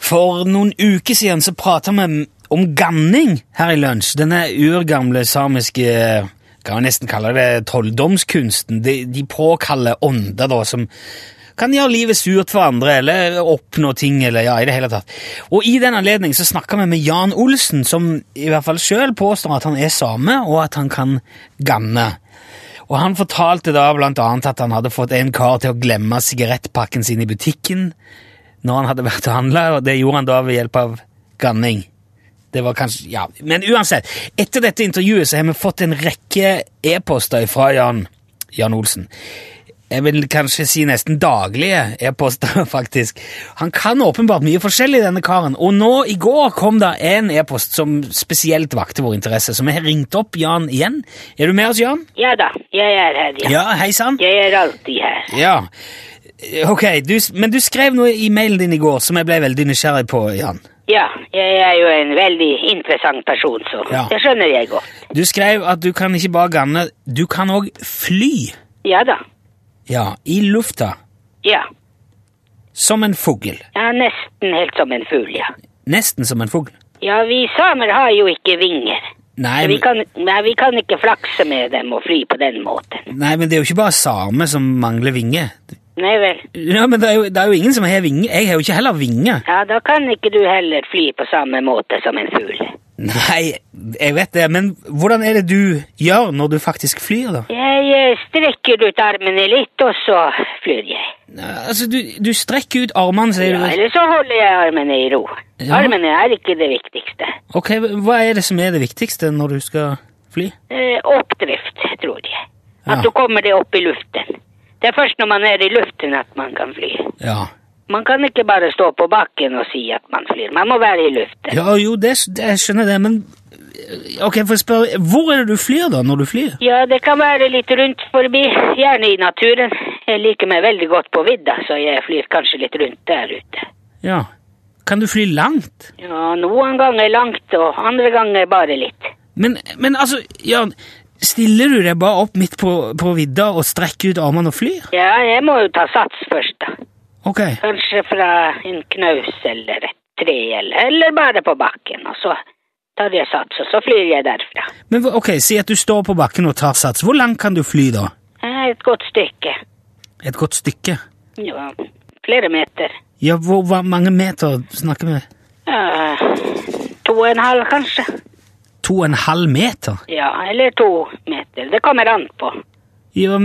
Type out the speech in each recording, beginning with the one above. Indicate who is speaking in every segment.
Speaker 1: For noen uker siden så prata vi om ganning her i lunsj. Denne urgamle samiske kan vi nesten kalle det trolldomskunsten. De, de påkaller ånder da, som kan gjøre livet surt for andre, eller oppnå ting, eller ja, i det hele tatt. Og i den anledning så snakka vi med Jan Olsen, som i hvert fall sjøl påstår at han er same, og at han kan ganne. Og han fortalte da blant annet at han hadde fått en kar til å glemme sigarettpakken sin i butikken når han hadde vært og handla, og det gjorde han da ved hjelp av ganning. Det var kanskje, ja, Men uansett, etter dette intervjuet så har vi fått en rekke e-poster fra Jan, Jan Olsen. Jeg vil kanskje si nesten daglige e-poster, faktisk. Han kan åpenbart mye forskjellig, denne karen. Og nå, i går, kom det en e-post som spesielt vakte vår interesse, så vi har ringt opp Jan igjen. Er du med oss, Jan?
Speaker 2: Ja da, jeg er her, ja.
Speaker 1: Ja, hei sann.
Speaker 2: Jeg er alltid her.
Speaker 1: Ja. Ok, du, men du skrev noe i mailen din i går som jeg ble veldig nysgjerrig på, Jan.
Speaker 2: Ja, jeg er jo en veldig interessant person, så
Speaker 1: Ja.
Speaker 2: det skjønner jeg godt.
Speaker 1: Du skrev at du kan ikke bare ganne, du kan òg fly.
Speaker 2: Ja da,
Speaker 1: Ja, i lufta.
Speaker 2: ja.
Speaker 1: Som en fugl.
Speaker 2: Jeg er nesten helt som en fugl, ja.
Speaker 1: Nesten som en fugl.
Speaker 2: Ja, vi samer har jo ikke vinger.
Speaker 1: Nei,
Speaker 2: Vi
Speaker 1: men-
Speaker 2: kan, nei, vi kan ikke flakse med dem og fly på den måten.
Speaker 1: nei, men det er jo ikke bare same som mangler vinger.
Speaker 2: Nei vel.
Speaker 1: Ja, men det er jo, det er jo ingen som har vinger. Jeg har jo ikke heller vinger.
Speaker 2: Ja, da kan ikke du heller fly på samme måte som en fugl.
Speaker 1: Nei, jeg vet det, men hvordan er det du gjør når du faktisk flyr, da?
Speaker 2: Jeg eh, strekker ut armene litt, og så flyr jeg.
Speaker 1: Altså, du, du strekker ut armene, sier
Speaker 2: Ja,
Speaker 1: du.
Speaker 2: eller så holder jeg armene i ro.
Speaker 1: Ja.
Speaker 2: Armene er ikke det viktigste.
Speaker 1: Ok, hva er det som er det viktigste når du skal fly?
Speaker 2: Eh, oppdrift, tror jeg. At
Speaker 1: Ja.
Speaker 2: du kommer deg opp i luften. Det er først når man er i luften at man kan fly.
Speaker 1: Ja.
Speaker 2: Man kan ikke bare stå på bakken og si at man flyr. Man må være i luften.
Speaker 1: Ja, jo, det, det, jeg skjønner det, men eh, Ok, for å spørre, hvor er det du flyr, da, når du flyr?
Speaker 2: Ja, det kan være litt rundt forbi, gjerne i naturen. Jeg liker meg veldig godt på vidda, så jeg flyr kanskje litt rundt der ute.
Speaker 1: Ja. Kan du fly langt?
Speaker 2: Ja, noen ganger langt, og andre ganger bare litt.
Speaker 1: Men, men altså, Jan, stiller du deg bare opp midt på, på vidda og strekker ut armene og flyr?
Speaker 2: Ja, jeg må jo ta sats først, da.
Speaker 1: Ok.
Speaker 2: Kanskje fra en knaus eller et tre, eller, eller bare på bakken, og så tar jeg sats, og så flyr jeg derfra.
Speaker 1: Men hvor- ok, Si at du står på bakken og tar sats. Hvor langt kan du fly da?
Speaker 2: Eh, Et godt stykke.
Speaker 1: Et godt stykke?
Speaker 2: Ja, flere meter.
Speaker 1: Ja, hvor, hvor mange meter snakker vi?
Speaker 2: Eh, to og en halv, kanskje.
Speaker 1: To og en halv meter?
Speaker 2: Ja, eller to meter. Det kommer an på.
Speaker 1: Ja,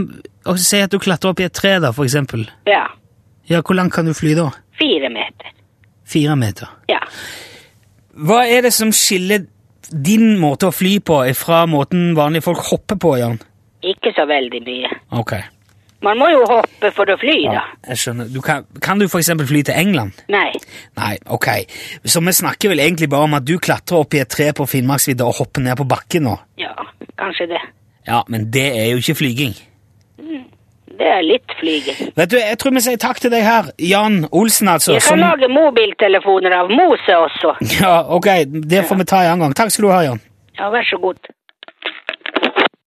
Speaker 1: og Si at du klatrer opp i et tre, da, for eksempel.
Speaker 2: Ja,
Speaker 1: Ja, hvor langt kan du fly da?
Speaker 2: fire meter.
Speaker 1: Fire meter.
Speaker 2: Ja.
Speaker 1: Hva er det som skiller din måte å fly på fra måten vanlige folk hopper på, Jan?
Speaker 2: Ikke så veldig mye.
Speaker 1: Ok,
Speaker 2: Man må jo hoppe for å fly, da.
Speaker 1: jeg skjønner. Du kan, kan du for eksempel fly til England?
Speaker 2: Nei.
Speaker 1: Nei, ok. Så vi snakker vel egentlig bare om at du klatrer opp i et tre på Finnmarksvidda og hopper ned på bakken nå?
Speaker 2: Ja, kanskje det.
Speaker 1: Ja, men det er jo ikke flyging.
Speaker 2: Det er litt flyging.
Speaker 1: Vet du, jeg tror vi sier takk til deg her, Jan Olsen altså.
Speaker 2: Jeg
Speaker 1: som-
Speaker 2: kan lage mobiltelefoner av mose også.
Speaker 1: Ja, ok, det får vi ta en annen gang. Takk skal du ha, Jan.
Speaker 2: Ja, vær så god.